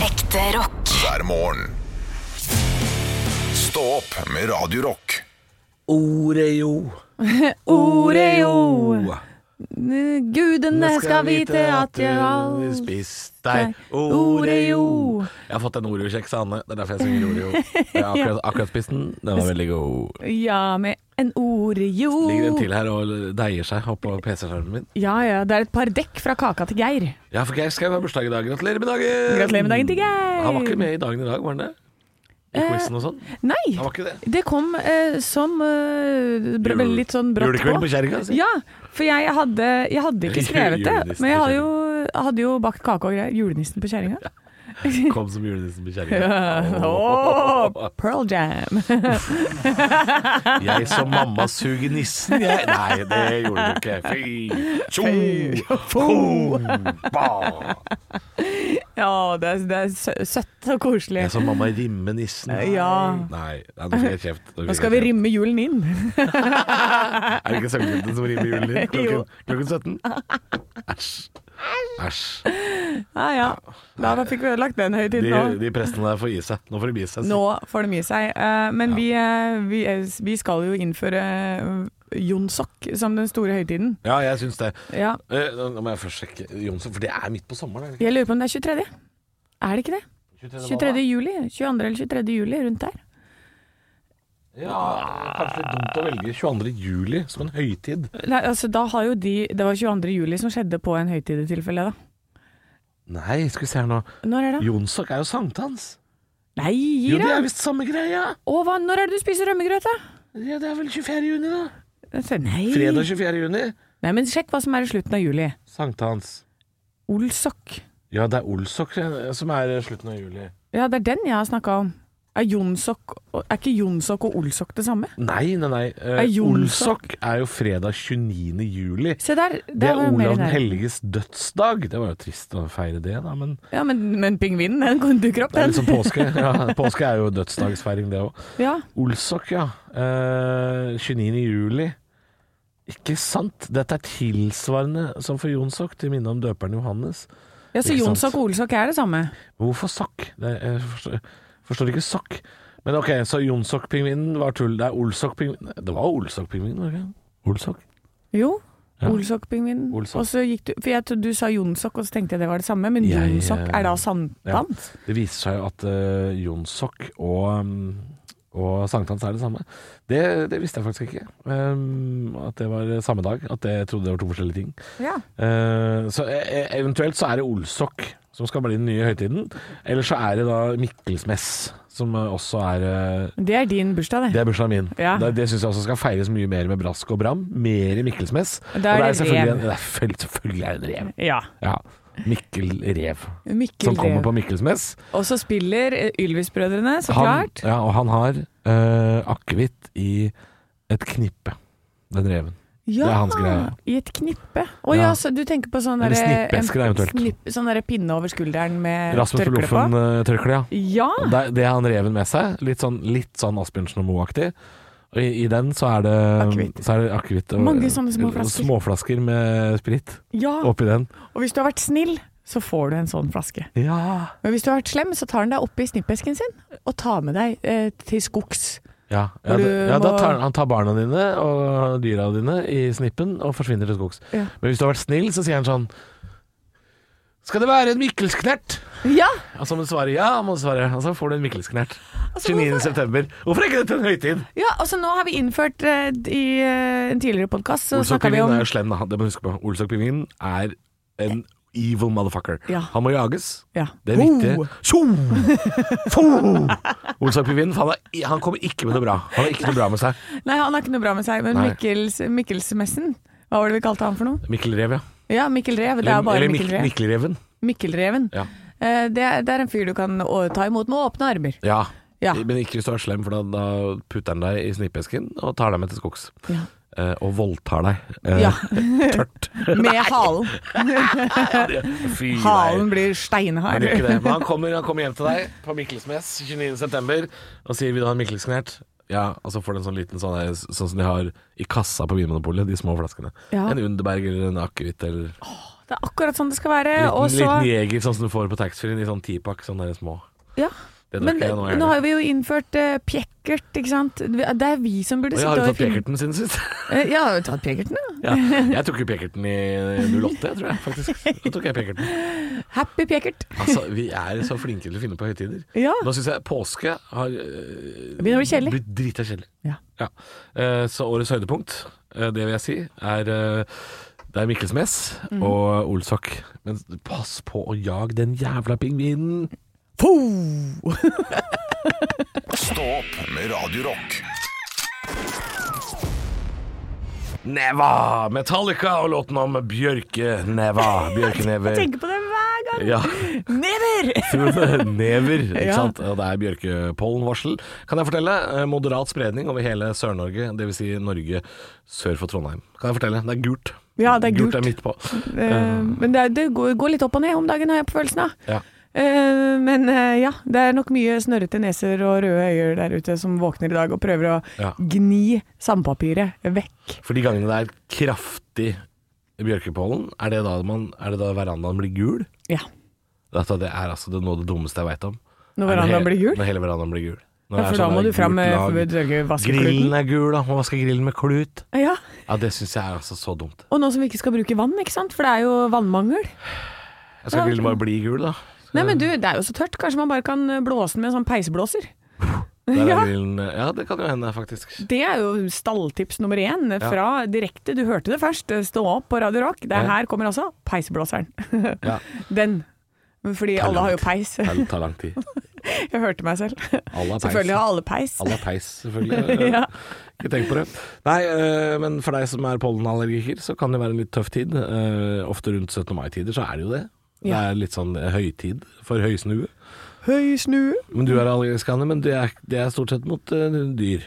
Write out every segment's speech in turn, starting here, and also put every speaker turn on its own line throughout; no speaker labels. Ekte rock.
hver morgen. Stå opp med Radio Rock.
Oreo.
Oreo. Gudene skal vite at jeg
eh, du
alt
spiste deg Oreo.
Oreo.
Jeg har fått en Oreo-kjeks av Anne. Det er derfor jeg synger Oreo. Jeg har akkurat, akkurat spist den. Den var veldig god.
Ja, med en Oreo.
Ligger den til her og deier seg oppå PC-skjermen min.
Ja, ja. Det er et par dekk fra kaka til Geir.
Ja, for Geir Skau har bursdag i dag. Gratulerer med dagen!
Gratulerer med dagen til Eh, Geir.
Han var ikke med i dagen i dag, var han det? I quizen og sånn? Han
Nei.
var ikke det.
Det kom eh, som eh, br-
Jule-
litt sånn brått på.
Julekveld på kjerringa, si.
Ja, for jeg hadde, jeg hadde ikke skrevet det.
Julenissen
Men jeg
på
hadde jo, jeg hadde jo bakt kake og greier. Julenissen på kjerringa.
Kom som julenissen på
Ja.
kjerringa.
Åh, Pearl Jam.
Jeg som mamma suger nissen, jeg. Nei, det gjorde du ikke. Fy tjo fo ba.
Ja, det er, det er sø- søtt og koselig.
Jeg som mamma rimme nissen.
Eh, Ja.
Nei, nei, nå fikk jeg kjeft.
Nå skal vi rimme julen inn.
Er det ikke Sølvgutten som rimer julen din? Klokken,
Jo.
klokken 17? Æsj. Æsj.
Ja, ja. Da fikk vi ødelagt den høytiden
De,
nå.
de prestene der får gi seg. Nå får de gi seg.
Nå får de gi seg. Eh, Men vi, eh, vi, eh, vi skal jo innføre eh, jonsok som den store høytiden.
Ja, jeg syns det.
Ja.
Eh, Nå nå må jeg først sjekke Jonsson, for det er midt på sommeren. Er det
Jeg lurer på om det er 23. Er det ikke det?
ikke?
23. juli? 22. eller 23. juli, rundt der.
Ja, kanskje litt dumt å velge 22. juli som en høytid.
Nei, altså da har jo de Det var 22. juli som skjedde på en høytid i tilfelle, da.
Nei, skal vi se her nå.
Når er det?
Jonsok er jo sankthans.
Nei,
Jo,
gi
det er
deg!
visst samme greia.
Å, hva? Når er det du spiser rømmegrøt, da?
Ja, det er vel 24. juni, da.
Jeg sa, Nei.
Fredag 24. juni.
Nei, men sjekk hva som er i slutten av juli.
Sankthans.
Olsok.
Ja, det er Olsok eh, som er eh, slutten av juli.
Ja, det er den jeg har snakka om. Er, Jonsok, og- er ikke Jonsok og Olsok det samme?
Nei, nei, nei. Eh,
Er Jonsok?
Olsok er jo fredag 29. juli.
Se der. Det,
Det er
var jo mer
Olav den
nær.
helliges dødsdag. Det var jo trist å feire det, da, men
Ja, men, men pingvinen, den kan dukker opp,
det er liksom-
den.
litt som påske. Ja, påske er jo dødsdagsfeiring, det òg.
Ja.
Olsok, ja. Eh, 29. juli. Ikke sant? Dette er tilsvarende som for Jonsok, til minne om døperen Johannes.
ja,
Ikke
så
sant.
Jonsok og Olsok er det samme.
Hvorfor sokk? Det, jeg forstår, forstår ikke sokk. Men ok, så Jonsok-pingvinen var tull. Det er Olsok-pingvinen Det var Olsok-pingvinen, var det ikke? Olsok?
Jo.
Ja.
Olsok-pingvinen.
Olsok.
Og så gikk du For jeg trodde du sa Jonsok, og så tenkte jeg det var det samme, men
Jeg,
Jonsok
eh,
er da sankthans?
Det viser seg jo at eh, Jonsok og, um, og sankthans er det samme. Det, det visste jeg faktisk ikke. Um, at det var samme dag. At jeg trodde det var to forskjellige ting.
Ja.
Eh, så eh, eventuelt så er det Olsok som skal bli den nye høytiden. Eller så er det da Mikkelsmess, som eh, også er eh,
Det er din bursdag, det.
Det er bursdagen min.
Ja.
Det, det syns jeg også skal feires mye mer med brask og bram. Mer i Mikkelsmess.
Da er
og
det
selvfølgelig
rev.
En, det er føl- selvfølgelig er det en rev.
Ja.
Ja. Mikkel Rev,
Mikkel
som kommer
Rev.
på Mikkelsmess.
Og så spiller eh, Ylvis-brødrene, så
Han,
klart.
ja, og han har øh, akevitt i et knippe, den reven.
Ja,
Det er hans greie.
I et knippe. Å
Ja.
ja, så du tenker på sånn
Eller
derre-
snippesker,
en-
eventuelt.
snipp- Sånn derre pinne over skulderen med
Rasmus eh, på
tørkle på?
Loffen-tørkle, ja.
Ja!
Og Det, det har han reven med seg. Litt sånn, litt sånn Asbjørnsen og Moe-aktig. Og i, I den så er det
Akevitt.
så er det akevitt. og-
Mange sånne små flasker.
Småflasker med sprit
ja.
oppi den.
Og hvis du har vært snill, så får du en sånn flaske.
Ja.
Men hvis du har vært slem, så tar han deg oppi snippesken sin og tar med deg eh, til skogs.
Ja, ja,
Hvor du
da- ja da
må-
tar, han tar barna dine og dyra dine i snippen og forsvinner til skogs.
Ja.
Men hvis du har vært snill, så sier han sånn Skal det være en Mikkelsknert?
Ja!
Og så må du svare ja, må du svare, og så får du en Mikkelsknert.
Altså,
29. september. Hvorfor er ikke dette en høytid?
ja altså, nå har vi innført eh, I eh, en tidligere podkast så snakka vi
Olsokpingvinen
om
er jo slem, da. Det må du huske på. Olsokpingvinen er en evil motherfucker.
Ja.
Han må jages.
ja.
Det er viktig. Tjo! Fo! Olsokpingvinen, han, er- han kommer ikke med noe bra. Han har ikke noe bra med seg.
Nei, han har ikke noe bra med seg, men
Nei.
Mikkels, Mikkelsmessen Hva var det vi kalte han for noe?
Mikkel Rev, ja.
Ja, Mikkel Rev. Det er bare
Eller Mik-
Mikkel Rev.
Mikkelreven.
Mikkelreven.
Ja.
Eh, Det er, det er en fyr du kan å- ta imot med åpne armer.
Ja.
Ja.
Men ikke hvis du er slem, for da, da putter han deg i snippesken og tar deg med til skogs.
Ja.
Eh, og voldtar deg. Eh,
Ja.
Tørt.
Med halen.
Fy
Halen
nei.
blir
Han
steinhard.
gjør ikke det. Men han kommer, han kommer hjem til deg på Mikkelsmes 29.9. og sier 'vil du ha en Mikkelsknert'? Ja, og så får du en sånn liten sånn, der, sånn som de har i kassa på Vinmonopolet, de små flaskene.
Ja.
En Underberg eller en akevitt eller
Det er akkurat sånn det skal være.
Liten,
og så,
liten jeger, sånn som du får på taxfree-en i sånn tipakk, sånn der små.
ja.
Det
Men
drakk jeg nå i
nå
helgen.
har vi jo innført eh, pjekkert, ikke sant. Det er vi som burde
Og jeg har
sitte
jo
og
tatt pekerten siden sist.
Eh, Ja, har du tatt pjekerten, ja.
Ja, jeg tok jo pekerten i 08, tror jeg faktisk. Da tok jeg pekerten.
Happy pjekert.
Altså, vi er så flinke til å finne på høytider.
Ja.
Nå syns jeg påske har øh,
Det begynner å bli kjedelig.
blitt drita kjedelig.
Ja.
Eh, så årets høydepunkt, eh, det vil jeg si, er eh, det er Mikkel Smes
Mm.
og Olsok. Men pass på å jage den jævla pingvinen!
Fo!
Stå opp med Radio Rock.
Neva! Metallica og låten om bjørkeneva. Bjørkenever.
Jeg tenker på det hver gang.
Ja.
Never!
Never, ikke
Ja.
sant? Og det er bjørkepollenvarsel. Kan jeg fortelle? Eh, Moderat spredning over hele Sør-Norge, dvs. Si Norge sør for Trondheim. Kan jeg fortelle? Det er gult.
Ja, det er gult.
er midt på.
Eh, men det, er- det går, går litt opp og ned om dagen, har jeg på følelsen av.
Ja.
Eh, men eh, ja, det er nok mye snørrete neser og røde øyer der ute som våkner i dag og prøver å
Ja.
gni sandpapiret vekk.
For de gangene det er kraftig bjørkepollen, er det da, man, er det da verandaen blir gul?
Ja.
Dette, det er altså det, noe av det dummeste jeg veit om.
Når
Er når
verandaen
he-
blir gul.
Når hele verandaen blir gul. Når det
Ja,
er
for da
sånn
må
der
du fram med
gult lag. Grillen
vaskekluten.
er gul, da. Man vasker grillen med klut.
Ja.
Ja, Det syns jeg er altså så dumt.
Og nå som vi ikke skal bruke vann, ikke sant? For det er jo vannmangel.
Jeg skal
Ja.
grillen bare bli gul, da.
Nei, men du, det er jo så tørt. Kanskje man bare kan blåse den med en sånn peisblåser.
Der er
Ja.
grillen eh, Ja, det kan jo hende, faktisk.
Det er jo stalltips nummer én fra direkte. Du hørte det først. Stå opp på Radio Rock. Det
Ja.
er her kommer også peisblåseren.
Ja.
Den. Fordi
er
alle har jo
langt.
peis.
Det tar lang tid.
Jeg hørte meg selv.
Alle har peis.
Selvfølgelig har alle peis.
Alle har peis, selvfølgelig.
Ja.
Ikke tenk på det. Nei, øh, men for deg som er pollenallergiker, så kan det være en litt tøff tid. Øh, Ofte rundt 17. mai-tider så er det jo det. Det
Ja.
er litt sånn høytid for høysnue.
Høy snue.
Men du er allergisk, Anne, men det er, det er stort sett mot øh, dyr.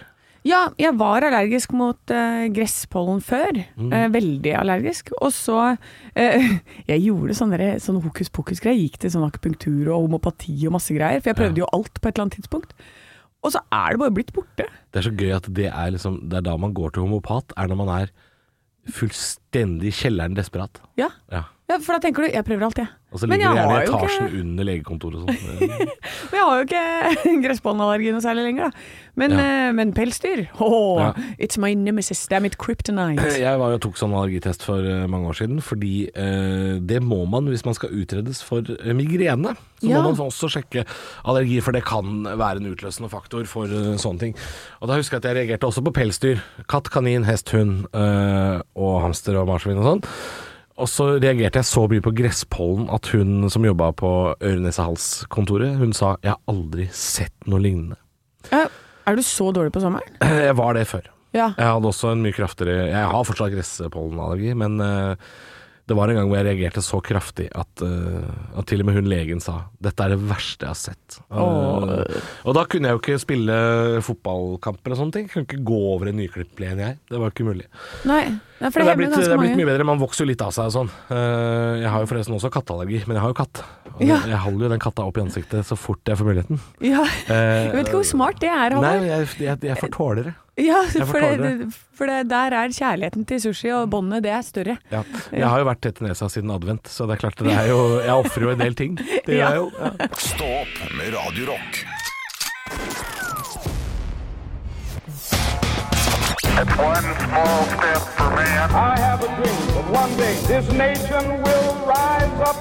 Ja, jeg var allergisk mot eh, gresspollen før.
Mm.
Eh, veldig allergisk. Og så eh, Jeg gjorde sånne, der- sånne hokus pokus-greier. Gikk til sånn akupunktur og homopati og masse greier. For jeg prøvde jo alt på et eller annet tidspunkt. Og så er det bare blitt borte.
Det er så gøy at det er liksom Det er da man går til homopat, er når man er fullstendig i kjelleren desperat.
Ja,
Ja.
ja for da tenker du jeg prøver alt, jeg.
Og så
Men
ligger
jeg
det gjerne i
har jo ikke-
etasjen under legekontoret og sånn.
Men jeg har jo ikke gresspollenallergi noe særlig lenger, da. Men,
Ja.
eh, men pelsdyr? Åh,
Ja.
It's my nemesis, damn it, kryptonite.
Jeg var jo tok sånn allergitest for eh, mange år siden, fordi eh, det må man hvis man skal utredes for eh, migrene. Så
Ja.
må man også sjekke allergi, for det kan være en utløsende faktor for eh, sånne ting. Og da husker jeg at jeg reagerte også på pelsdyr. Katt, kanin, hest, hund eh, og hamster og marsvin og sånn. Og så reagerte jeg så mye på gresspollen at hun som jobba på Øre-nese-hals-kontoret, hun sa 'jeg har aldri sett noe lignende'.
Eh, Er du så dårlig på sommeren?
Jeg var det før.
Ja.
Jeg hadde også en mye kraftigere Jeg har fortsatt gresspollenallergi, men eh, det var en gang hvor jeg reagerte så kraftig at, eh, at til og med hun legen sa 'dette er det verste jeg har sett'. Eh,
Åh.
og da kunne jeg jo ikke spille fotballkamper og sånne ting. Kunne ikke gå over en nyklipt plen, jeg. Det var ikke mulig.
Nei, nei, for
Men det er
det hender
blitt, det
ganske
er blitt
mange.
mye bedre. Man vokser jo litt av seg og sånn. Eh, jeg har jo forresten også katteallergi, men jeg har jo katt. Og
Ja.
Jeg holder jo den katta opp i ansiktet så fort jeg får muligheten.
Ja.
Eh,
Jeg vet ikke hvor smart det er,
Nei,
Halvor.
jeg, jeg, jeg får tålere.
Ja,
jeg
for,
forstår
det, for det, der er kjærligheten til sushi og båndet, det er større.
Ja. Jeg har jo vært tett i nesa siden advent, så det er klart det er jo Jeg ofrer jo en del ting. Det gjør
Ja.
jeg jo. Ja.
Stå opp med Radio Rock.
One small step for man.
I have a dream that one day this nation will rise up.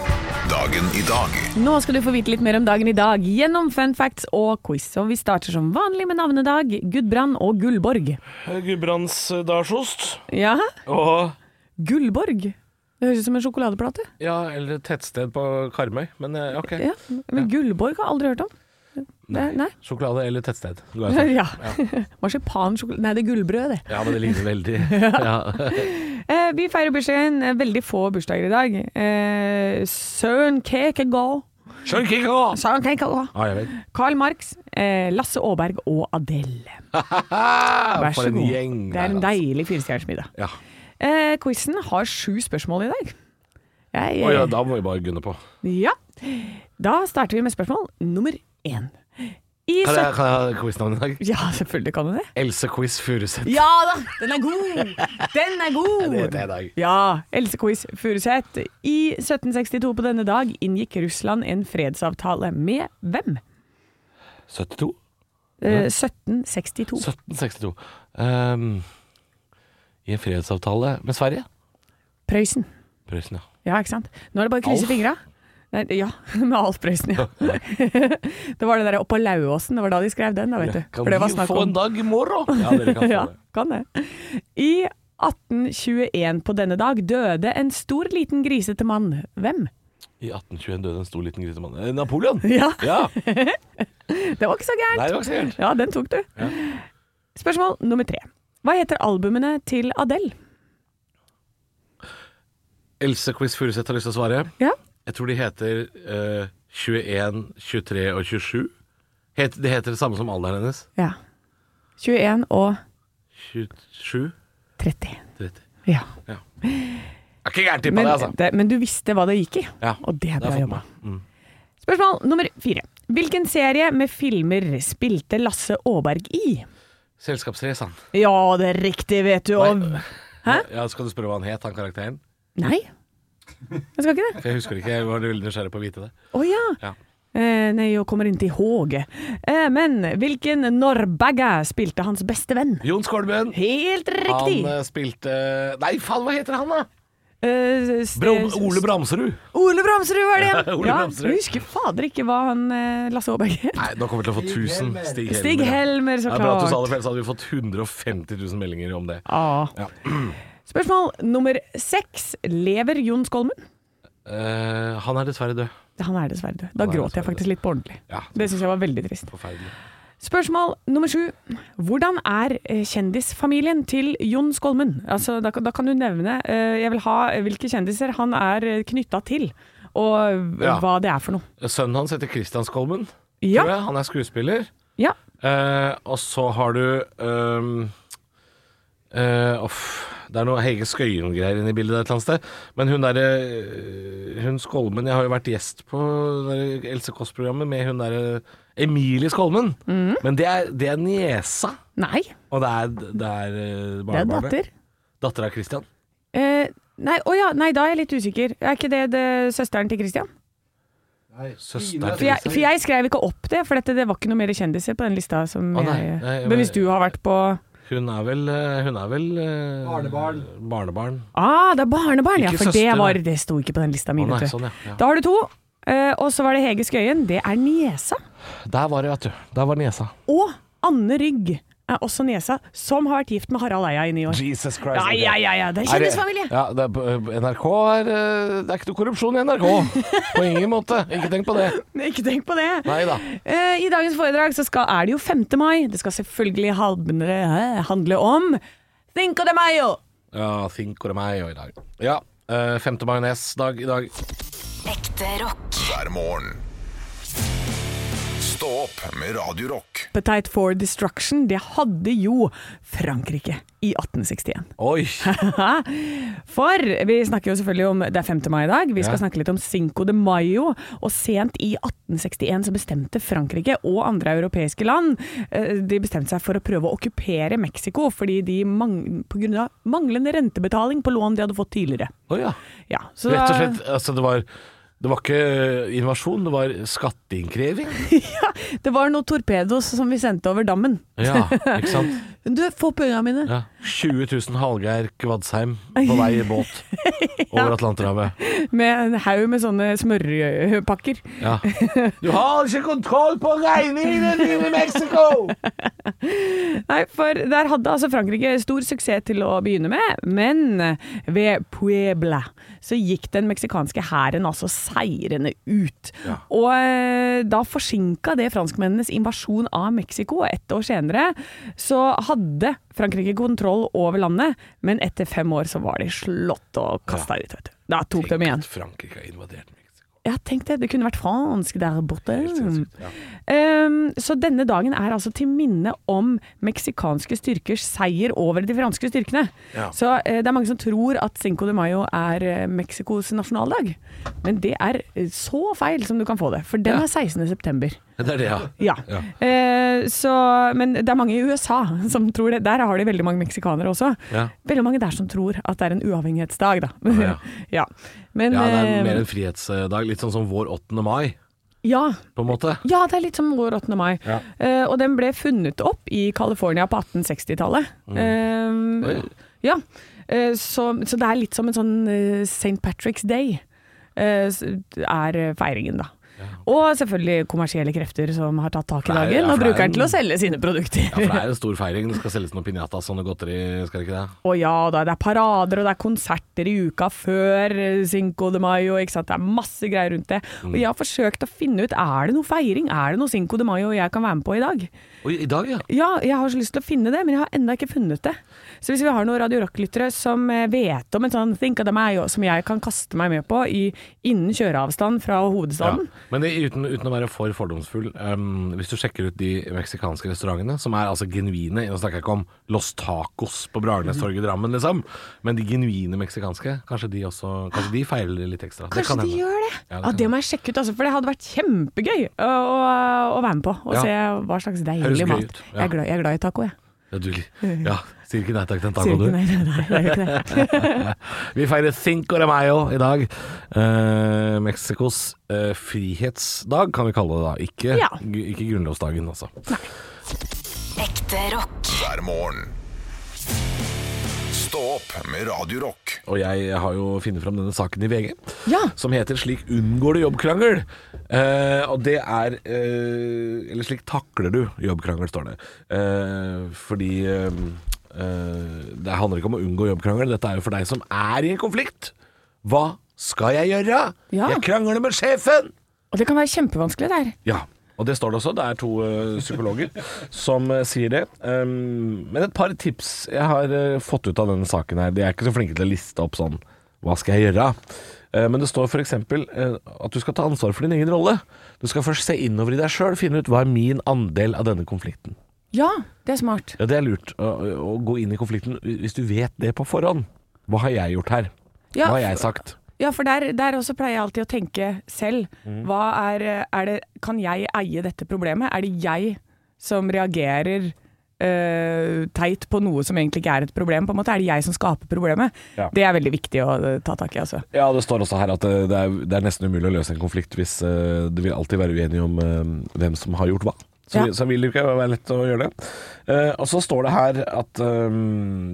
Dagen i dag.
Nå skal du få vite litt mer om dagen i dag gjennom fun facts og quiz. Og vi starter som vanlig med navnedag, Gudbrand og Gullborg.
Gudbrandsdalsost
Ja,
og
Gullborg. Det høres ut som en sjokoladeplate.
Ja, eller et tettsted på Karmøy, men eh, ok.
Ja, men Gullborg har jeg aldri hørt om. Nei. Nei.
Sjokolade eller tettsted. går jeg for.
Ja. Marsipansjokolade Nei, det er gullbrød, det.
Ja, men det ligner veldig. Ja.
Eh, vi feirer bursdagen. eh, Veldig få bursdager i dag. Eh, Søren Kekegård.
Skjønner ikke hva! Ah,
Søren Kekegård.
Ja, jeg vet.
Carl Marx, eh, Lasse Aaberg og Adele. Vær så
Ah, For en
god.
gjeng.
Det er
der,
en
altså.
deilig firestjerners middag.
Ja.
Eh, Quizen har sju spørsmål i dag. Jeg, eh,
Å ja, da må vi bare gunne på.
ja. Da starter vi med spørsmål nummer én. I
Kan jeg,
søpp-
kan jeg ha quiznavn i dag?
Ja, selvfølgelig kan du det.
Else Quiz Furuseth.
Ja da! Den er god! Den er god!
Det heter jeg i dag.
Ja, Else Quiz Furuseth. I 1762 på denne dag inngikk Russland en fredsavtale med hvem?
72?
Eh, 1762.
1762. Ehm, I en fredsavtale med Sverige?
Prøysen.
Prøysen, ja.
Ja, ikke sant? Nå er det bare å krysse
Alf.
fingra. Nei, ja, med Alf Prøysen, ja. det var det der oppå Lauåsen, det var da de skrev den, da, vet du.
Kan
For det var
vi
snakk
få en
om
dag i morgen? Ja, dere kan få
Ja,
det.
kan det. I 1821 på denne dag døde en stor liten grisete mann. Hvem?
I 1821 døde en stor liten grisemann. Eh, Napoleon!
Ja,
Ja!
det var ikke så gærent.
Nei, det var ikke så gærent.
Ja, den tok du. Spørsmål nummer tre. Hva heter albumene til Adele?
Else Quiz Furuseth har lyst til å svare.
Ja.
Jeg tror de heter eh, 21, 23 og 27. Het, de heter det samme som alderen hennes.
ja. 21 og
27,
30.
30.
Ja.
Det er ikke gærent tippa,
Men,
det, altså.
det, men du visste hva det gikk i,
Ja,
og det er
har
bra
jeg fått
jobba.
med.
Spørsmål nummer fire. Hvilken serie med filmer spilte Lasse Aaberg i?
Selskapsrace, han.
Ja, det er riktig, vet du. Og...
Nei.
Hæ?
Ja, skal du spørre hva han het, han karakteren?
Nei? Jeg skal ikke det.
For jeg husker det ikke, jeg var veldig nysgjerrig på å vite det.
Å ja.
Ja.
Eh, nei, jeg kommer ikke i håge. Eh, men hvilken norrbagge spilte hans beste venn?
Jon Skålbøen.
Helt riktig!
Han eh, spilte Nei, faen, hva heter han, da?
Eh, s-
Bro,
s-
Ole Bramserud.
Ole Bramsrud var det igjen!
Ja, Ole
ja,
Bramsrud.
jeg husker fader ikke hva han eh, Lasse Aaberg het.
Nei, nå kommer vi til å få 1000. Stig Helmer.
Stig Helmer, så
Det er bra at du sa det,
klart.
for ellers hadde vi fått 150 000 meldinger om det.
Ah.
Ja.
Spørsmål nummer seks. Lever Jon Skolmen?
Eh, han er dessverre død.
Han er dessverre død. Da
Han er
gråt jeg
dessverre
faktisk litt på ordentlig.
Ja.
Det syns jeg var veldig trist.
Forferdelig.
Spørsmål nummer sju. Hvordan er eh, kjendisfamilien til Jon Skolmen? Altså, da, da kan du nevne eh, Jeg vil ha hvilke kjendiser han er knytta til, og
Ja.
hva det er for noe.
Sønnen hans heter Christian Skolmen.
Ja.
Tror jeg. Han er skuespiller.
Ja.
Eh, og så har du ehm, eh, off, Det er noe Hege Skøyen-greier inne i bildet der et eller annet sted. Men hun derre eh, Hun Skolmen Jeg har jo vært gjest på det der Else Kåss-programmet med hun derre Emilie Skolmen.
Mhm.
Men det er, det er niesa,
Nei,
og det er, det er eh,
det er
barnebarnet.
datter.
Datter av Christian.
Eh, nei, å ja, nei, da er jeg litt usikker. Er ikke det, det søsteren til Christian?
Søsteren
For
til
jeg, for jeg skrev ikke opp det, for dette, det var ikke noe mer kjendiser på den lista. Som
Å, nei,
jeg,
nei,
men
men-
hvis du har vært på
Hun er vel, eh, hun er vel eh,
Barnebarn.
barnebarn.
Ah, det er barnebarn! Ja,
Ikke
for
søster,
det, var,
nei.
det sto ikke på den lista mi.
Å, nei,
vet du.
sånn, ja, ja.
Da har du to. Eh, og så var det Hege Skøyen. Det er niesa.
Der var det, vet du. Der var niesa.
Og Anne Rygg er også niesa, som har vært gift med Harald Eia i ni år.
Jesus Christ.
Ja,
ok.
ja, ja, ja. Det er
Er det-
kjendisfamilie!
Ja, det er, på- eh, NRK er eh, Det er ikke noe korrupsjon i NRK. På ingen måte. Ikke tenk på det.
Ikke tenk på det.
Nei da.
Eh, I dagens foredrag så skal, er det jo 5. mai. Det skal selvfølgelig handle, eh, handle om Cinco de Mayo!
Ja, think or meg i dag. Ja. eh, Femte majonesdag i dag.
Ekte rock.
hver morgen. Stå opp med Radio Rock.
Appetite for Destruction, det hadde jo Frankrike i 1861.
Oi!
For vi snakker jo selvfølgelig om det er 5. mai i dag. Vi skal
Ja.
snakke litt om Cinco de Mayo. Og sent i 1861 så bestemte Frankrike og andre europeiske land eh, De bestemte seg for å prøve å okkupere Mexico fordi de mang på grunn av manglende rentebetaling på lån de hadde fått tidligere.
Oi, ja.
Ja, så
Rett og
da-
slett, altså det var det var ikke invasjon, det var skatteinnkreving.
Det var noen torpedos som vi sendte over dammen.
Ja, ikke sant?
Du, få pengene mine!
Ja. 20 000 Hallgeir Kvadsheim på vei i båt over Atlanterhavet.
Med en haug med sånne smørpakker.
Ja. Du har ikke kontroll på regningene dine i Mexico!
Nei, for der hadde altså Frankrike stor suksess til å begynne med, men ved Puebla så gikk den meksikanske hæren altså seirende ut. Og eh, da forsinka det franskmennenes invasjon av Mexico. Ett år senere så hadde Frankrike kontroll over landet, men etter fem år så var de slått og kasta ut, vet du. Da tok de igjen.
Frankrike har invadert Mexico.
Ja, tenk det. Det kunne vært fransk der borte.
Helt sinnssykt, ja.
Ehm, så denne dagen er altså til minne om meksikanske styrkers seier over de franske styrkene.
Ja.
Så eh, det er mange som tror at Cinco de Mayo er eh, Mexicos nasjonaldag. Men det er eh, så feil som du kan få det, for den
Ja.
er 16. september.
Det er det, ja.
Ja. Eh, så, men det er mange i USA som tror det. Der har de veldig mange meksikanere også.
Ja.
Veldig mange der som tror at det er en uavhengighetsdag, da.
Ja.
Ja. Men,
Ja, det
eh,
er mer en frihetsdag. Litt sånn som vår 8. mai,
ja.
på en måte.
Ja, det er litt som vår 8. mai.
Ja.
Eh, og den ble funnet opp i California på 1860-tallet. Eh,
Mm. Oi.
ja. Eh, så, så det er litt som en sånn eh, St. Patrick's Day, eh, s- er eh, feiringen, da. Og selvfølgelig kommersielle krefter som har tatt tak i
For det er-
dagen
ja, for
og
det er
bruker den til å
en-
selge sine produkter.
Ja, for det er en stor feiring. Det skal selges noen piñatas og noe godteri, skal det ikke det?
Og ja da, det er parader og det er konserter i uka før eh, Cinco de Mayo, ikke sant. Det er masse greier rundt det.
Mm.
Og jeg har forsøkt å finne ut, er det noe feiring? Er det noe Cinco de Mayo jeg kan være med på i dag?
Oi, i dag, ja.
Ja, jeg har så lyst til å finne det, men jeg har ennå ikke funnet det. Så hvis vi har noen Radio Rock-lyttere som eh, vet om en sånn Think of the Mayo som jeg kan kaste meg med på i, innen kjøreavstand fra
ja.
hovedstaden
Men det, uten, uten å være for fordomsfull, ehm, hvis du sjekker ut de meksikanske restaurantene, som er altså genuine, nå snakker jeg ikke om Los Tacos på Bragernestorget i Drammen, liksom, men de genuine meksikanske, kanskje de også Kanskje de feiler litt ekstra. Det
Kanskje
kan
de
hende.
gjør det?
Ja,
Ja,
det
det,
kan
må jeg sjekke ut, altså, for det hadde vært kjempegøy å, å, å være med på. Og
Ja.
se hva slags
Høres
deilig
gøy
mat.
ut, ja.
Jeg, er glad, jeg er glad i taco, jeg.
Ja, du, ja, sier ikke nei takk til en taco,
Sier
du.
ikke nei, nei, nei, det er jo ikke det.
Vi feirer Cinco de Mayo i dag. Eh, Mexicos eh, frihetsdag kan vi kalle det da. Ikke,
Ja.
gu- ikke grunnlovsdagen, altså.
Ekte rock.
hver morgen. Stå opp med Radio Rock.
Og jeg har jo funnet fram denne saken i VG,
Ja.
som heter 'Slik unngår du jobbkrangel'. Eh, og det er eh, Eller 'Slik takler du jobbkrangel', står det. Eh, fordi eh, eh, det handler ikke om å unngå jobbkrangel, dette er jo for deg som er i en konflikt. Hva skal jeg gjøre?
Ja.
Jeg krangler med sjefen!
Og det kan være kjempevanskelig der.
Ja, og det står det også. Det er to eh, psykologer som eh, sier det. Um, men et par tips jeg har eh, fått ut av denne saken her. De er ikke så flinke til å liste opp sånn Hva skal jeg gjøre? Eh, men det står f.eks. Uh, at du skal ta ansvar for din egen rolle. Du skal først se innover i deg sjøl, finne ut hva er min andel av denne konflikten.
Ja, det er smart.
Ja, Det er lurt å, å gå inn i konflikten hvis du vet det på forhånd. Hva har jeg gjort her?
Ja,
Hva har jeg sagt?
Ja, for der, der også pleier jeg alltid å tenke selv.
Mm.
Hva er, er det, kan jeg eie dette problemet? Er det jeg som reagerer eh, teit på noe som egentlig ikke er et problem? på en måte? Er det jeg som skaper problemet?
Ja.
Det er veldig viktig å eh, ta tak i. altså.
Ja, det står også her at eh, det, det, er, det er nesten umulig å løse en konflikt hvis eh, det vil alltid være uenige om eh, hvem som har gjort hva. Så,
Ja.
vi- så vil det ikke være lett å gjøre det. Eh, og så står det her at eh,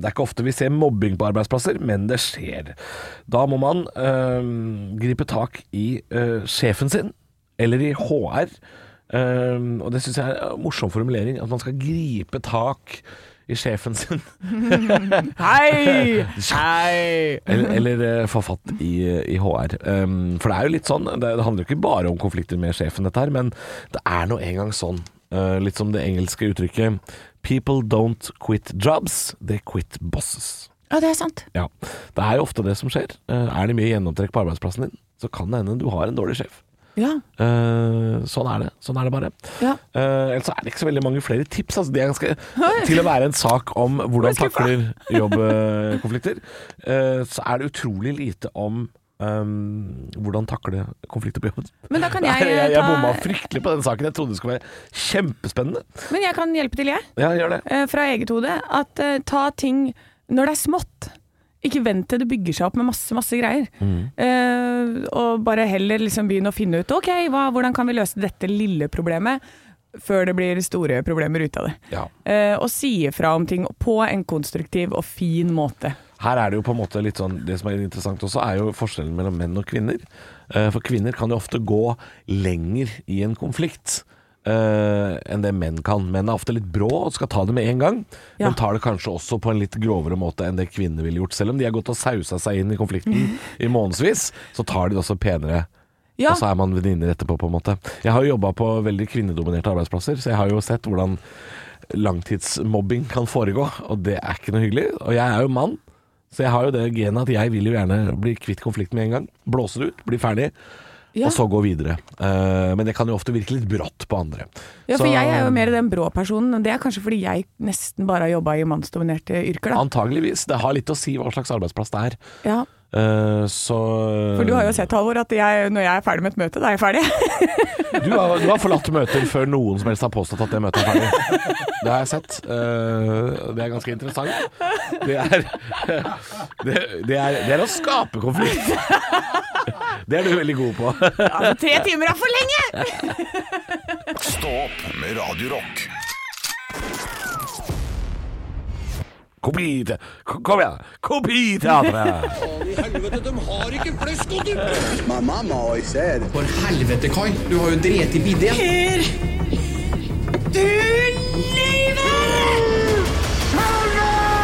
det er ikke ofte vi ser mobbing på arbeidsplasser, men det skjer. Da må man eh, gripe tak i eh, sjefen sin, eller i HR. Eh, og det syns jeg er en morsom formulering, at man skal gripe tak i sjefen sin.
Hei! Hei!
Eller, eller eh, få fatt i, i HR. Um, for det er jo litt sånn, det, det handler jo ikke bare om konflikter med sjefen dette her, men det er nå engang sånn. eh, litt som det engelske uttrykket 'People don't quit jobs, they quit bosses'.
Ja, det er sant.
Ja, Det er jo ofte det som skjer. Eh, er det mye gjennomtrekk på arbeidsplassen din, så kan det hende du har en dårlig sjef.
Ja,
Eh, sånn er det. Sånn er det bare.
ja.
Eh, ellers så er det ikke så veldig mange flere tips. Altså, det er ganske, til å være en sak om hvordan takler jobbkonflikter, eh, så er det utrolig lite om ehm, hvordan takle konflikter på jobben.
Men da kan
Nei,
jeg,
jeg,
eh,
jeg bomma
ta,
fryktelig på den saken. Jeg trodde det skulle være kjempespennende.
men jeg kan hjelpe til, jeg.
Ja, gjør det.
eh, fra eget hode, at eh, ta ting når det er smått. Ikke vent til det bygger seg opp med masse masse greier.
Mm.
Eh, og bare heller liksom begynne å finne ut ok, hva, hvordan kan vi løse dette lille problemet før det blir store problemer ut av det.
Ja.
Eh, og si ifra om ting på en konstruktiv og fin måte.
Her er det jo på en måte litt sånn Det som er interessant også, er jo forskjellen mellom menn og kvinner. Eh, For kvinner kan jo ofte gå lenger i en konflikt eh, enn det menn kan. Menn er ofte litt brå og skal ta det med en gang,
Ja.
men tar det kanskje også på en litt grovere måte enn det kvinner ville gjort. Selv om de har gått og sausa seg inn i konflikten i månedsvis, så tar de det også penere.
Ja.
Og så er man venninner etterpå, på en måte. Jeg har jo jobba på veldig kvinnedominerte arbeidsplasser, så jeg har jo sett hvordan langtidsmobbing kan foregå, og det er ikke noe hyggelig. Og jeg er jo mann, så jeg har jo det genet at jeg vil jo gjerne bli kvitt konflikten med en gang. Blåse det ut, bli ferdig.
Ja.
og så gå videre. Eh, men det kan jo ofte virke litt brått på andre.
Ja, for
Så-
jeg er jo mer den brå personen, og det er kanskje fordi jeg nesten bare har jobba i mannsdominerte yrker, da.
Antageligvis. Det har litt å si hva slags arbeidsplass det er.
Ja.
Eh, så
For du har jo sett, Halvor, at jeg, når jeg er ferdig med et møte, da er jeg ferdig.
Du har, du har forlatt møter før noen som helst har påstått at det møtet er ferdig. Det har jeg sett. Eh, det er ganske interessant. Det er, det, det, er, det er å skape konflikt. Det er du veldig god på.
Altså, tre timer er for lenge!
Stå opp med Radio Rock.
Kopite! K- Kom igjen! Kopiteatret!
Helvete, de har ikke flesk og dybde!
My mama always said,
For helvete, Kai. Du har jo drept i bidet.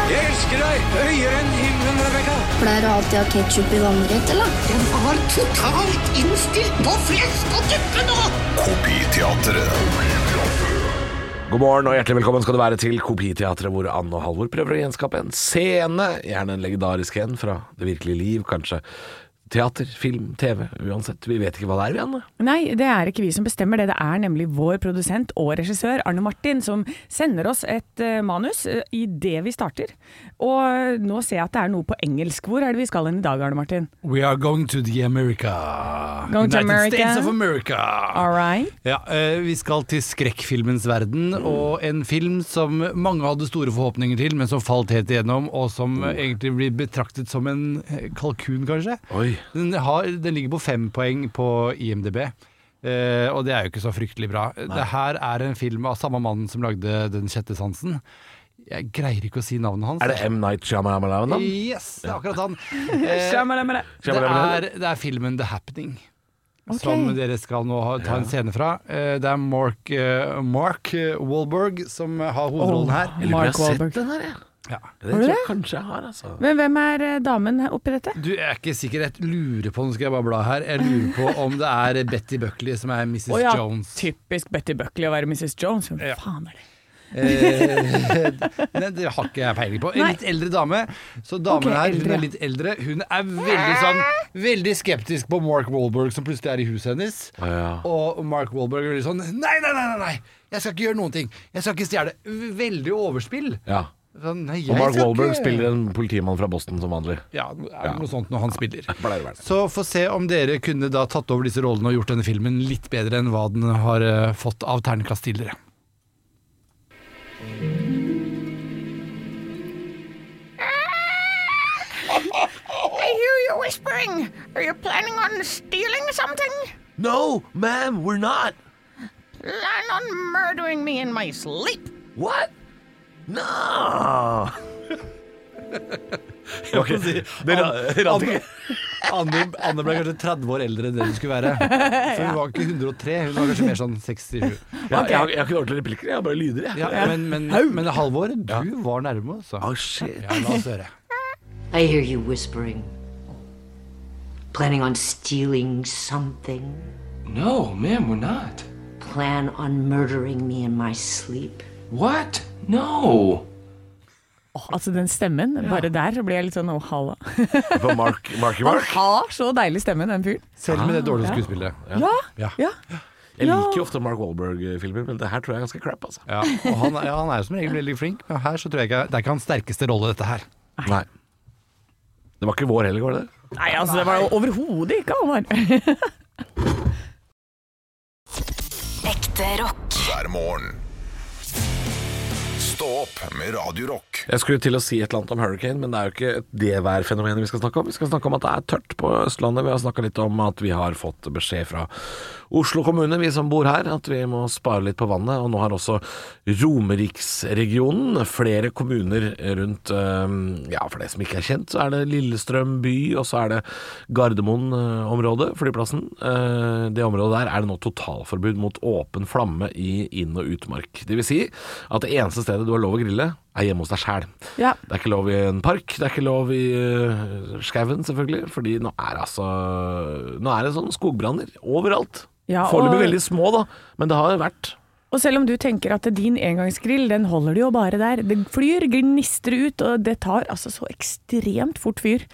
Jeg elsker deg høyere enn himmelen, Rebekka.
Pleier du alltid å ha ketsjup i vannrett, eller?
Jeg var totalt innstilt på flesk og dybde nå!
Kopiteatret.
God morgen og hjertelig velkommen skal du være til Kopiteatret, hvor Anne og Halvor prøver å gjenskape en scene, gjerne en legendarisk en fra det virkelige liv, kanskje. Teater, film, TV, uansett. Vi vet ikke hva det er, vi, Anne.
Nei, det er ikke vi som bestemmer det. Det er nemlig vår produsent og regissør Arne Martin som sender oss et eh, manus uh, i det vi starter. Og nå ser jeg at det er noe på engelsk. Hvor er det vi skal hen i dag, Arne Martin?
We are going to the America.
Going to
United
America.
States of America.
All right.
Ja, eh, vi skal til skrekkfilmens verden, og en film som mange hadde store forhåpninger til, men som falt helt igjennom, og som
Oh.
eh, egentlig blir betraktet som en eh, kalkun, kanskje.
Oi.
Den, har, den ligger på fem poeng på IMDb. eh, og det er jo ikke så fryktelig bra. Det her er en film av samme mannen som lagde Den sjette sansen. Jeg greier ikke å si navnet hans.
Er det M. Night Shyamalan?
Yes, det er akkurat han. Eh, Det
Shyamalan.
er, det er filmen The Happening.
Ok.
Som dere skal nå ha, ta en scene fra. Eh, Det er Mark, eh, Mark eh, Wahlberg som har hovedrollen her.
Jeg lurer
Oh, Mark
på om jeg har
Wahlberg.
sett den her, jeg.
Ja.
Det tror jeg kanskje jeg har, altså.
Men hvem er eh, damen her oppi dette?
Du jeg er ikke sikker, jeg lurer på Nå skal jeg bare bla her. Jeg lurer på om det er Betty Buckley som er Mrs.
Å ja,
Jones.
typisk Betty Buckley å være Mrs. Jones. Hvem
Ja.
faen er det?
Eh, Nei, det har ikke jeg peiling på. En
Nei.
litt eldre dame. Så
Ok,
damen her, hun
eldre.
er litt eldre. Hun er veldig sånn Veldig skeptisk på Mark Wahlberg som plutselig er i huset hennes.
Ja.
Og Mark Wahlberg er litt sånn Nei, nei, nei! nei, nei Jeg skal ikke gjøre noen ting. Jeg skal ikke stjele. Veldig overspill.
Ja.
Sånn, nei, jeg
Og Mark
skal
Wahlberg
ikke-
spiller en politimann fra Boston som vanlig.
Ja, det er noe sånt når han spiller.
Pleier å være det.
Så få se om dere kunne da tatt over disse rollene og gjort denne filmen litt bedre enn hva den har eh, fått av ternekast tidligere.
I hear you whispering. Are you planning on stealing something?
No, ma'am, we're not.
Plan on murdering me in my sleep?
What? No!
Anne, Anne, Anne ble kanskje 30 år eldre enn det hun skulle være. Så hun var ikke 103, hun var kanskje mer sånn 67.
Ja, jeg, har- jeg har ikke ordentlige replikker, jeg har bare lyder, jeg.
Ja, men, men, men Halvor, du var nærme, altså.
Oh, shit.
Ja, la oss høre.
I hear you whispering. Planning on stealing something?
No, ma'am, we're not.
Plan on murdering me in my sleep?
What? No.
Åh, altså den stemmen, bare der blir jeg litt sånn åh, halla.
På Mark, Marky
Han
Mark.
har så deilig stemme, den fyren.
Selv med det dårlige skuespillet.
Ja,
Ja.
ja.
Jeg
Ja.
liker jo ofte Mark Wahlberg-filmer, men det her tror jeg er ganske crap, altså.
Ja, og han, ja, han er jo som regel veldig flink, men her så tror jeg ikke Det er ikke hans sterkeste rolle, dette her.
Nei. Det var ikke vår heller, var det det?
Nei, altså det var jo overhodet ikke Halvor.
Ekte rock.
Hver morgen. Stå opp med Radio Rock.
Jeg skulle til å si et eller annet om hurricane, men det er jo ikke det værfenomenet vi skal snakke om. Vi skal snakke om at det er tørt på Østlandet. Vi har snakka litt om at vi har fått beskjed fra Oslo kommune, vi som bor her, at vi må spare litt på vannet. Og nå har også Romeriksregionen, flere kommuner rundt eh, Ja, for det som ikke er kjent, så er det Lillestrøm by, og så er det Gardermoen-området, flyplassen. Eh, Det området der er det nå totalforbud mot åpen flamme i inn- og utmark. Det vil si at det eneste stedet du har lov å grille, er hjemme hos deg sjæl.
Ja.
Det er ikke lov i en park, det er ikke lov i eh, skauen selvfølgelig, fordi nå er altså Nå er det sånn skogbranner overalt.
Ja,
Foreløpig
og-
veldig små, da, men det har vært.
Og selv om du tenker at din engangsgrill, den holder det jo bare der. Det flyr, gnister ut, og det tar altså så ekstremt fort fyr.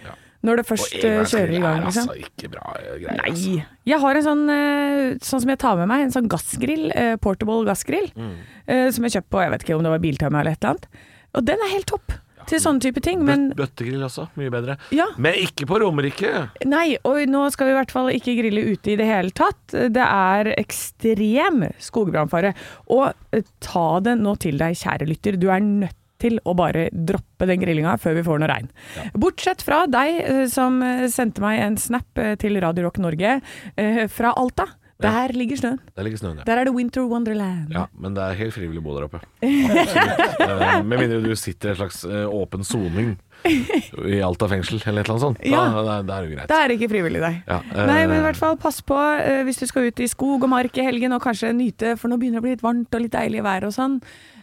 Når det først eh, kjører i gang, liksom.
altså ikke bra eh, greier. Altså.
Nei. Jeg har en sånn, eh, sånn som jeg tar med meg, en sånn gassgrill, eh, portable gassgrill, eh, som jeg kjøpte på, jeg vet ikke om det var Biltema eller et eller annet. Og den er helt topp til sånne type ting, men
Bøt- Bøttegrill også, mye bedre.
Ja.
Men ikke på Romerike!
nei, og nå skal vi i hvert fall ikke grille ute i det hele tatt. Det er ekstrem skogbrannfare. Og eh, ta det nå til deg, kjære lytter, du er nødt til å bare droppe den grillinga før vi får noe regn. Bortsett fra deg eh, som eh, sendte meg en snap eh, til Radio Rock Norge eh, fra Alta. Der ligger snøen.
Der ligger snøen, ja.
Der er det Winter Wonderland.
Ja, men det er helt frivillig å bo der oppe. Absolutt. Eh, Med mindre du sitter i en slags eh, åpen soning i Alta fengsel, eller et eller annet sånt. Da,
Ja.
da, da er det jo greit.
Det er ikke frivillig, nei.
Ja, eh,
nei, men i hvert fall pass på eh, hvis du skal ut i skog og mark i helgen og kanskje nyte, for nå begynner det å bli litt varmt og litt deilig vær og sånn.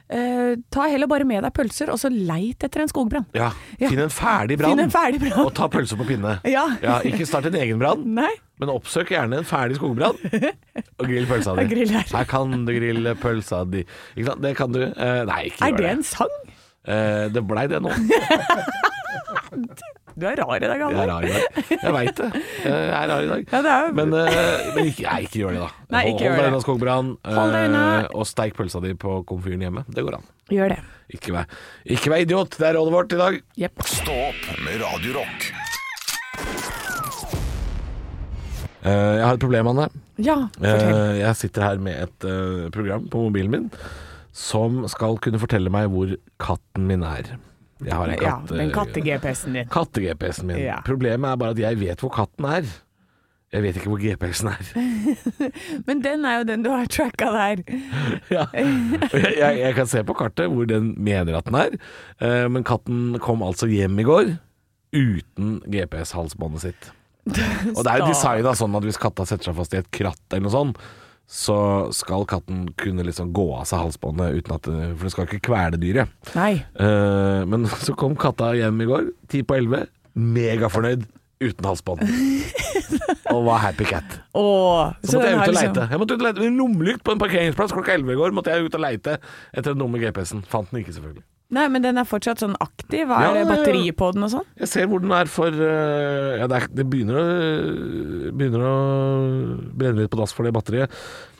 Eh, ta heller bare med deg pølser, og så leit etter en skogbrann.
Ja,
Ja.
Finn en ferdig brann,
Finn en ferdig brann.
og ta pølse på pinne.
Ja.
ikke start en egen brann,
Nei.
men oppsøk gjerne en ferdig skogbrann og grill pølsa di.
Og grill her.
kan du grille pølsa di. Ikke sant? Det kan du. Eh, nei, ikke
Er
gjør
det en sang?
Eh, det blei det nå.
Du er rar i dag,
Jeg er
Halvor.
rar i dag. Jeg veit det. Eh, Jeg er rar i dag.
Ja, det er jo-
Men, eh, men ikke, nei, ikke gjør det, da.
Nei, ikke
Hold-
gjør
Hold deg
det.
unna skogbrann.
Hold deg unna.
eh, Og steik pølsa di på komfyren hjemme. Det går an.
Gjør det.
Ikke vær, ikke vær idiot. Det er rådet vårt i dag.
Jepp.
Stå opp med Radio Rock.
Eh, jeg har et problem, Anne.
Ja, fortell.
Eh, jeg sitter her med et eh, program på mobilen min som skal kunne fortelle meg hvor katten min er. Jeg har en
ja,
katt...
den
eh,
katte-GPS-en din.
Katte-GPS-en min.
Ja.
Problemet er bare at jeg vet hvor katten er. Jeg vet ikke hvor GPS-en er.
Men den er jo den du har tracka der.
Ja. Og Jeg, jeg, jeg kan se på kartet hvor den mener at den er, eh, men katten kom altså hjem i går uten GPS-halsbåndet sitt. Og det er jo designa sånn at hvis katta setter seg fast i et kratt eller noe sånt, så skal katten kunne liksom gå av seg halsbåndet uten at For den skal ikke kvele dyret.
Nei.
Eh, men så kom katta hjem i går, ti på elleve, megafornøyd uten halsbånd. Og var happy cat.
Åh,
Så, måtte
den
jeg
har
ut og
liksom-
leite. Jeg måtte ut og leite Med en lommelykt på en parkeringsplass klokka 11 i går måtte jeg ut og leite etter den dumme GPS-en. Fant den ikke, selvfølgelig.
Nei, men den er fortsatt sånn aktiv. Hva
Ja,
er det
ja, ja.
batteriet på den og sånn?
Jeg ser hvor den er for øh, Ja, det, er, det begynner, å, begynner å brenne litt på dass for det batteriet.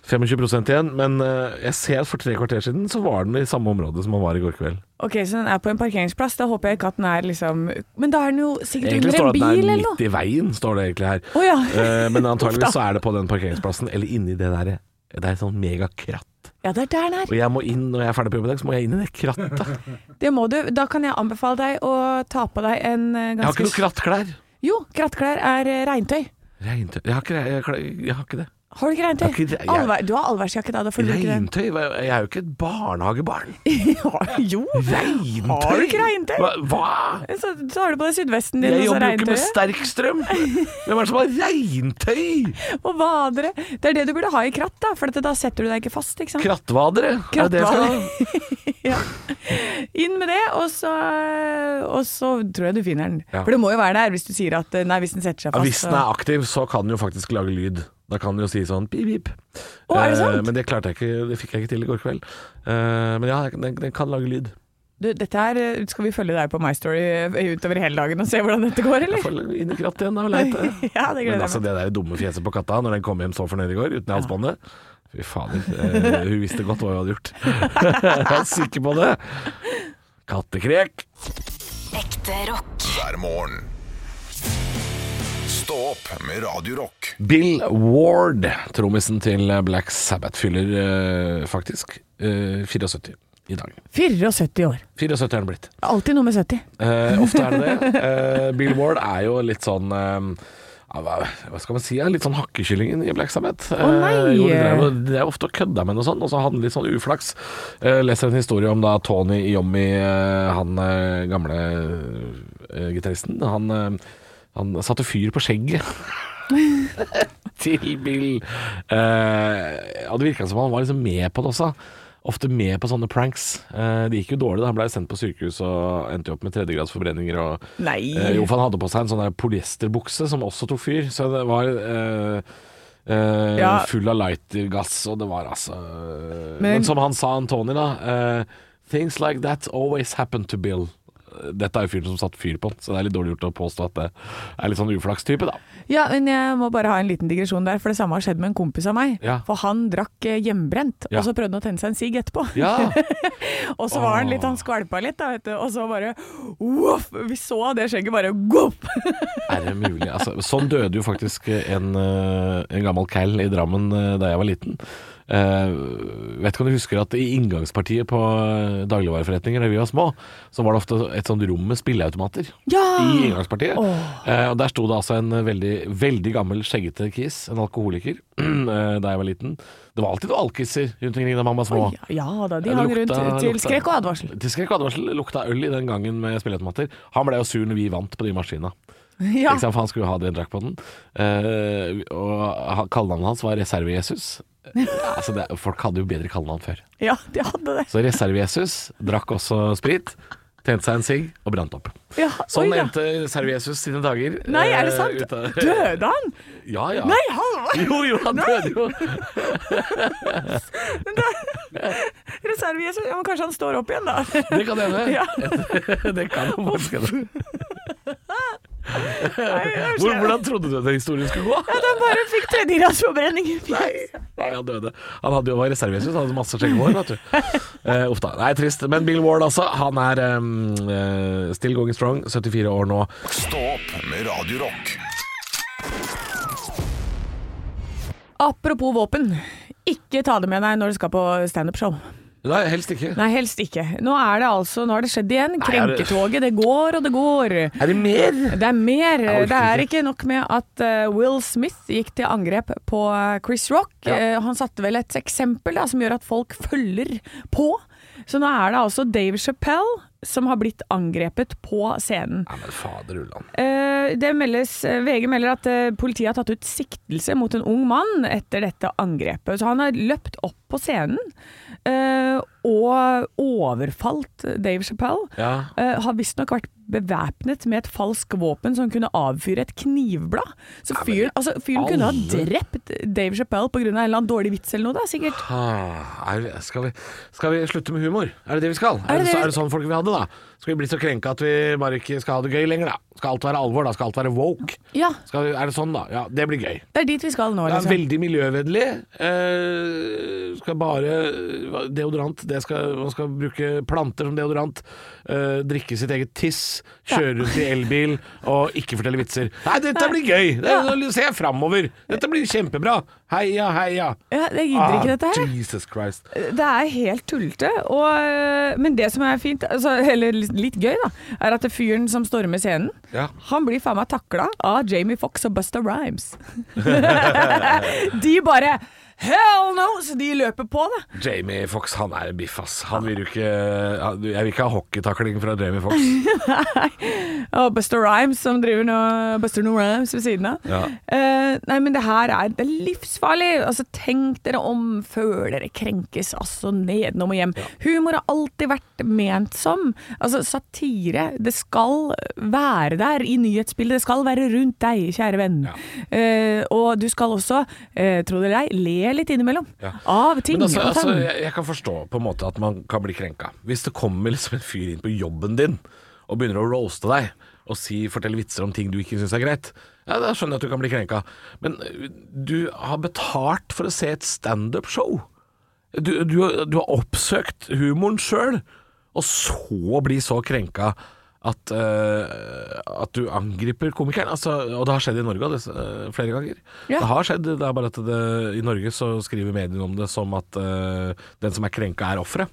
25 igjen, men øh, jeg ser at for tre kvarter siden så var den i samme område som den var i går kveld.
Ok, så den er på en parkeringsplass. Da håper jeg ikke at den er liksom Men da er den jo sikkert
Egentlig
under
står
en
det at
bil
den er
eller
midt
noe.
i veien, står det egentlig her.
Å ja.
Eh, men
Uff da.
antageligvis så er det på den parkeringsplassen, eller inni det der Det er et sånn megakratt.
Ja, det er der den er.
Og jeg må inn, når jeg er ferdig på jobb i dag, så må jeg inn i det krattet.
Det må du. Da kan jeg anbefale deg å ta på deg en eh,
Jeg har ikke
ganske
noe krattklær.
Jo, krattklær er eh, regntøy.
Regntøy Jeg har ikke, jeg, har- jeg har ikke det.
Har du ikke regntøy?
Jeg har ikke det. Jeg-
Allvær- du har allværsjakke da, da får du ikke den.
Regntøy? Hva- Jeg er jo ikke et barnehagebarn.
Ja, jo!
Regntøy?
Har du ikke regntøy?
Hva? Hva?
Så, så har du på deg sydvesten din
Jeg
og så
jobber jo ikke med
regntøyet.
sterk strøm. Hvem er det som har regntøy?
Og vadere. Det er det du burde ha i kratt, da, for at da setter du deg ikke fast. ikke sant?
Krattvadere? Er det det jeg skal ha?
Inn med det, og så, eh, og så tror jeg du finner den.
Ja.
For det må jo være der hvis du sier at eh, Nei, hvis den setter
Ja,
seg fast.
Hvis den
så-
er aktiv, så kan den jo faktisk lage lyd. Da kan den jo si sånn pip, pip.
Å, er det sant?
Eh, Men det klarte jeg ikke, det fikk jeg ikke til i går kveld. Eh, Men ja, den, den kan lage lyd.
Du, dette her eh, skal vi følge deg på My Story eh, utover hele dagen og se hvordan dette går,
Jeg
eller?
får inn i krattet igjen da og leite.
Ja, det
Men
gleder
altså
jeg meg.
det der dumme fjeset på katta når den kom hjem så fornøyd i går uten halsbåndet. Fy fader, eh, hun visste godt hva hun hadde gjort. jeg er sikker på det. Kattekrek.
Ekte rock.
hver morgen. Stå opp med Radio Rock.
Bill Ward, trommisen til Black Sabbath, fyller eh, faktisk eh, 74 i dag.
74 år.
74 er han blitt.
Alltid nummer 70.
Eh, ofte er det det. Eh, Bill Ward er jo litt sånn eh, ja, hva hva skal man si? ja, Litt sånn hakkekyllingen i Black Sabbath.
nei!
Eh, jo, de drev og- de er ofte og kødda med noe sånt, og så hadde han litt sånn uflaks. Eh, leser en historie om da Tony Iommi, eh, han eh, gamle eh, gitaristen, han, eh, han satte fyr på skjegget til Bill. Eh, ja, det virka som han var liksom med på det også. Ofte med på sånne pranks. Eh, det gikk jo dårlig da han blei sendt på sykehus og endte jo opp med tredjegradsforbrenninger og
Nei.
Eh, jo, for han hadde på seg en sånn der polyesterbukse som også tok fyr, så det var eh, eh,
Ja.
full av lightergass, og det var altså Men,
Men-
øh, som han sa, Antoni, da eh, Things like that always happen to Bill. dette er jo fyren som satte fyr på den, så det er litt dårlig gjort å påstå at det er litt sånn uflakstype, da.
Ja, men jeg må bare ha en liten digresjon der, for det samme har skjedd med en kompis av meg.
Ja.
For han drakk eh, hjemmebrent,
Ja.
og så prøvde han å tenne seg en sigg etterpå.
Ja!
og så var han litt, han skvalpa litt, da, vet du, og så bare voff! Vi så det skjegget bare goff!
Er det mulig? Altså, sånn døde jo faktisk en, eh, en gammel cal i Drammen eh, da jeg var liten. Eh, vet ikke om du husker at i inngangspartiet på eh, dagligvareforretninger da vi var små, så var det ofte et sånt rom med spilleautomater
Ja!
i inngangspartiet. Eh, og der sto det altså en veldig, veldig gammel skjeggete kis, en alkoholiker, eh, da jeg var liten. Det var alltid noen alkiser rundt omkring da man var små.
Ja da,
Ja,
de
det
hang rundt
lukta-
til
lukta-
skrekk og advarsel.
Til skrekk og advarsel lukta øl i den gangen med spilleautomater. Han ble jo sur når vi vant på de maskinene.
Ja.
Ikke sant, for han skulle jo ha det en drakk på den. Eh, og han- kallenavnet hans var Reserve-Jesus. Eh, altså det- folk hadde jo bedre kallenavn før.
ja, de hadde det.
Så Reserve-Jesus drakk også sprit, tente seg en sigg og brant opp.
Ja,
Sånn
oi da.
endte Reserve-Jesus sine dager.
Nei, er det
eh,
sant?
ut av-
Døde han?
Ja, ja.
Nei, Halvor!
Jo, jo, han døde jo.
Reserve-Jesus. Ja, men kanskje han står opp igjen, da.
Det kan hende.
Ja.
Det kan jo faktisk hende.
Nei,
Hvor- Hvordan trodde du den historien skulle gå?
Han bare fikk tredjegradsforbrenning. Nei.
Nei, han døde. Han hadde jo var reservesus, han hadde masse skjegghår, vet du. Eh, uff da. Nei, trist. Men Bill Ward, altså. Han er eh, eh, still going strong, 74 år nå.
Stå opp med Radio Rock.
Apropos våpen. Ikke ta det med deg når du skal på standup-show.
Nei, helst ikke.
Nei, helst ikke. Nå er det altså, nå har det skjedd
Nei,
igjen.
er det-
Krenketoget, det går og det går.
Er det mer?
Det er mer.
orker
Det er
ikke.
ikke nok med at eh, Will Smith gikk til angrep på eh, Chris Rock. Eh, Han satte vel et eksempel da, som gjør at folk følger på. Så nå er det altså Dave Chappelle som har blitt angrepet på scenen.
Nei, men fader ulland.
Eh, det meldes, eh, VG melder at eh, politiet har tatt ut siktelse mot en ung mann etter dette angrepet. Så han har løpt opp på scenen eh, og overfalt Dave Chappelle.
Ja.
Eh, har visstnok vært bevæpnet med et falsk våpen som kunne avfyre et knivblad. Så fyren, altså, fyren kunne ha
alle-
drept Dave Chappelle pga. en eller annen dårlig vits eller noe, da, sikkert.
Ah, er, skal, vi, skal vi slutte med humor? Er det det vi skal?
Er
Er det,
det det vi-
er det sånn folk vil ha det, da? Skal vi bli så krenka at vi bare ikke skal ha det gøy lenger, da? Skal alt være alvor, da? Skal alt være woke?
Ja,
Skal vi, er det sånn, da? Ja, det blir gøy.
det er dit vi skal nå,
Det er
liksom.
veldig miljøvennlig. Eh, skal bare Deodorant det skal, Man skal bruke planter som deodorant. Eh, drikke sitt eget tiss. Kjøre rundt i elbil og ikke fortelle vitser. Nei, dette blir gøy! Det, Nå ser jeg framover! Dette blir kjempebra! Heia, heia! Ah,
Ja, jeg gidder ikke dette her.
Jesus Christ.
Det er helt tullete. Og, eh, men det som er fint, altså, eller litt- litt gøy, da, er at det fyren som stormer scenen,
Ja.
han blir faen meg takla av Jamie Fox og Busta Rhymes. de bare Hell no! Så de løper på, da.
Jamie Fox, han er en biff, ass. Han vil jo ikke han- Jeg vil ikke ha hockeytakling fra Jamie Fox.
Og Busta Rhymes som driver nå Buster No Rhymes ved siden av.
Ja.
Eh, nei, men det her er, det er livsfarlig. Altså, tenk dere om før dere krenkes, altså nedenom og hjem. Humor har alltid vært ment som. Altså, satire, det skal være der i nyhetsbildet. Det skal være rundt deg, kjære venn. Eh, og du skal også, eh, tro det eller ei, le litt innimellom.
Ja.
Av ting.
Men altså,
og
altså
tang.
jeg, jeg kan forstå på en måte at man kan bli krenka. Hvis det kommer liksom en fyr inn på jobben din og begynner å roaste deg og si, fortelle vitser om ting du ikke syns er greit, ja, da skjønner jeg at du kan bli krenka. Men ø, du har betalt for å se et standup-show. Du, du, har- du har oppsøkt humoren sjøl, og så bli så krenka. At, ø, at du angriper komikeren. Altså, og det har skjedd i Norge og det, ø, flere ganger.
Ja.
Det har skjedd, det er bare at det, i Norge så skriver mediene om det som at eh, den som er krenka, er offeret.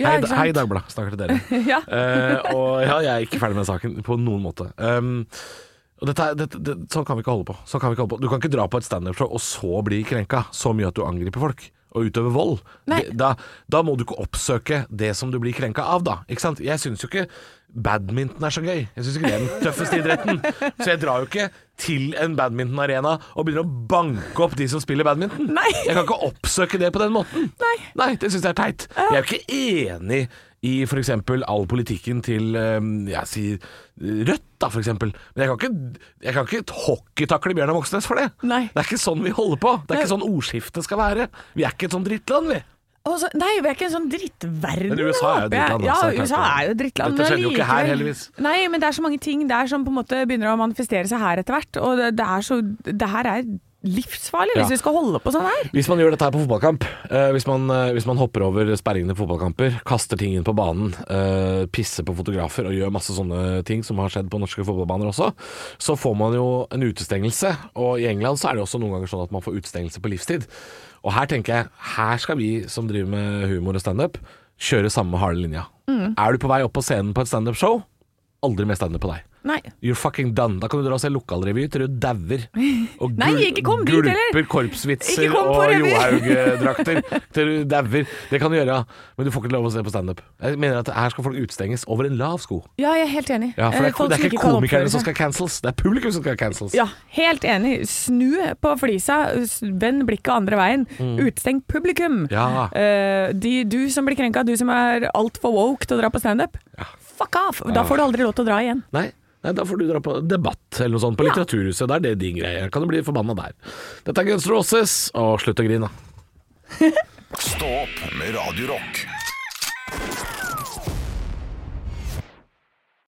Ja,
hei,
ikke sant?
hei Dagbladet, snakker til dere.
Ja.
Eh, og ja, jeg er ikke ferdig med saken på noen måte. Um, og dette, er- dette, det, sånn kan vi ikke holde på. Sånn kan vi ikke holde på. Du kan ikke dra på et standup-show og så bli krenka så mye at du angriper folk. Og utøver vold.
Nei.
Det- Da, da må du ikke oppsøke det som du blir krenka av, da. Ikke sant? Jeg syns jo ikke badminton er så gøy. Jeg syns ikke det er den tøffeste idretten. Så jeg drar jo ikke til en badmintonarena og begynner å banke opp de som spiller badminton.
Nei.
Jeg kan ikke oppsøke det på den måten.
Nei.
det syns jeg er teit. Jeg er jo ikke enig i f.eks. all politikken til eh, jeg sier Rødt, da, f.eks. Men jeg kan ikke, jeg kan ikke hockeytakle Bjørnar Moxnes for det.
Nei.
Det er ikke sånn vi holder på. Det er
Nei.
ikke sånn ordskiftet skal være. Vi er ikke et sånt drittland, vi.
Og så- nei, vi er ikke en sånn drittverden.
Men USA er jo
håper jeg.
drittland, da,
Ja,
så jeg
USA
tenker-
er jo drittland.
Dette
men
skjedde jo ikke her,
allikevel-
heldigvis.
Nei, men det er så mange ting der som på en måte begynner å manifestere seg her etter hvert. Og det, det, er så, det her er livsfarlig
Ja.
hvis vi skal holde på sånn her.
Hvis man gjør dette her på fotballkamp, eh, hvis, man, eh, hvis man hopper over sperringene på fotballkamper, kaster ting inn på banen, eh, pisser på fotografer og gjør masse sånne ting som har skjedd på norske fotballbaner også, så får man jo en utestengelse. Og i England så er det også noen ganger sånn at man får utestengelse på livstid. Og her tenker jeg, her skal vi som driver med humor og standup, kjøre samme harde linja. Er du på vei opp på scenen på et standup-show, aldri mer standup på deg.
Nei.
You're fucking done. Da kan du dra og se lokalrevy til du dauer. Og
Nei,
gul-
ikke kom dit, heller.
Gulper korpsvitser
Ikke kom på
og
revy.
Johaug-drakter til du dauer. Det kan du gjøre, men du får ikke lov å se på standup. Jeg mener at her skal folk utestenges over en lav sko.
Ja, jeg er helt enig.
Ja, for det
Eh,
er,
folk
det
som
er ikke
kan oppføre
komikerne som
seg.
skal cancels, det er publikum som skal cancels.
Ja, helt enig. Snu på flisa, s- vend blikket andre veien. Utesteng publikum.
Mm. Ja.
Eh, de, du som blir krenka, du som er altfor woke til å dra på standup. Fuck off! Da får du aldri lov til å dra igjen.
Nei, nei, da får du dra på debatt eller noe sånt på Litteraturhuset. Da er det din greie. Kan du bli forbanna der. Dette er Guns N' Roses, og slutt å grine.
Stå opp med Radio Rock.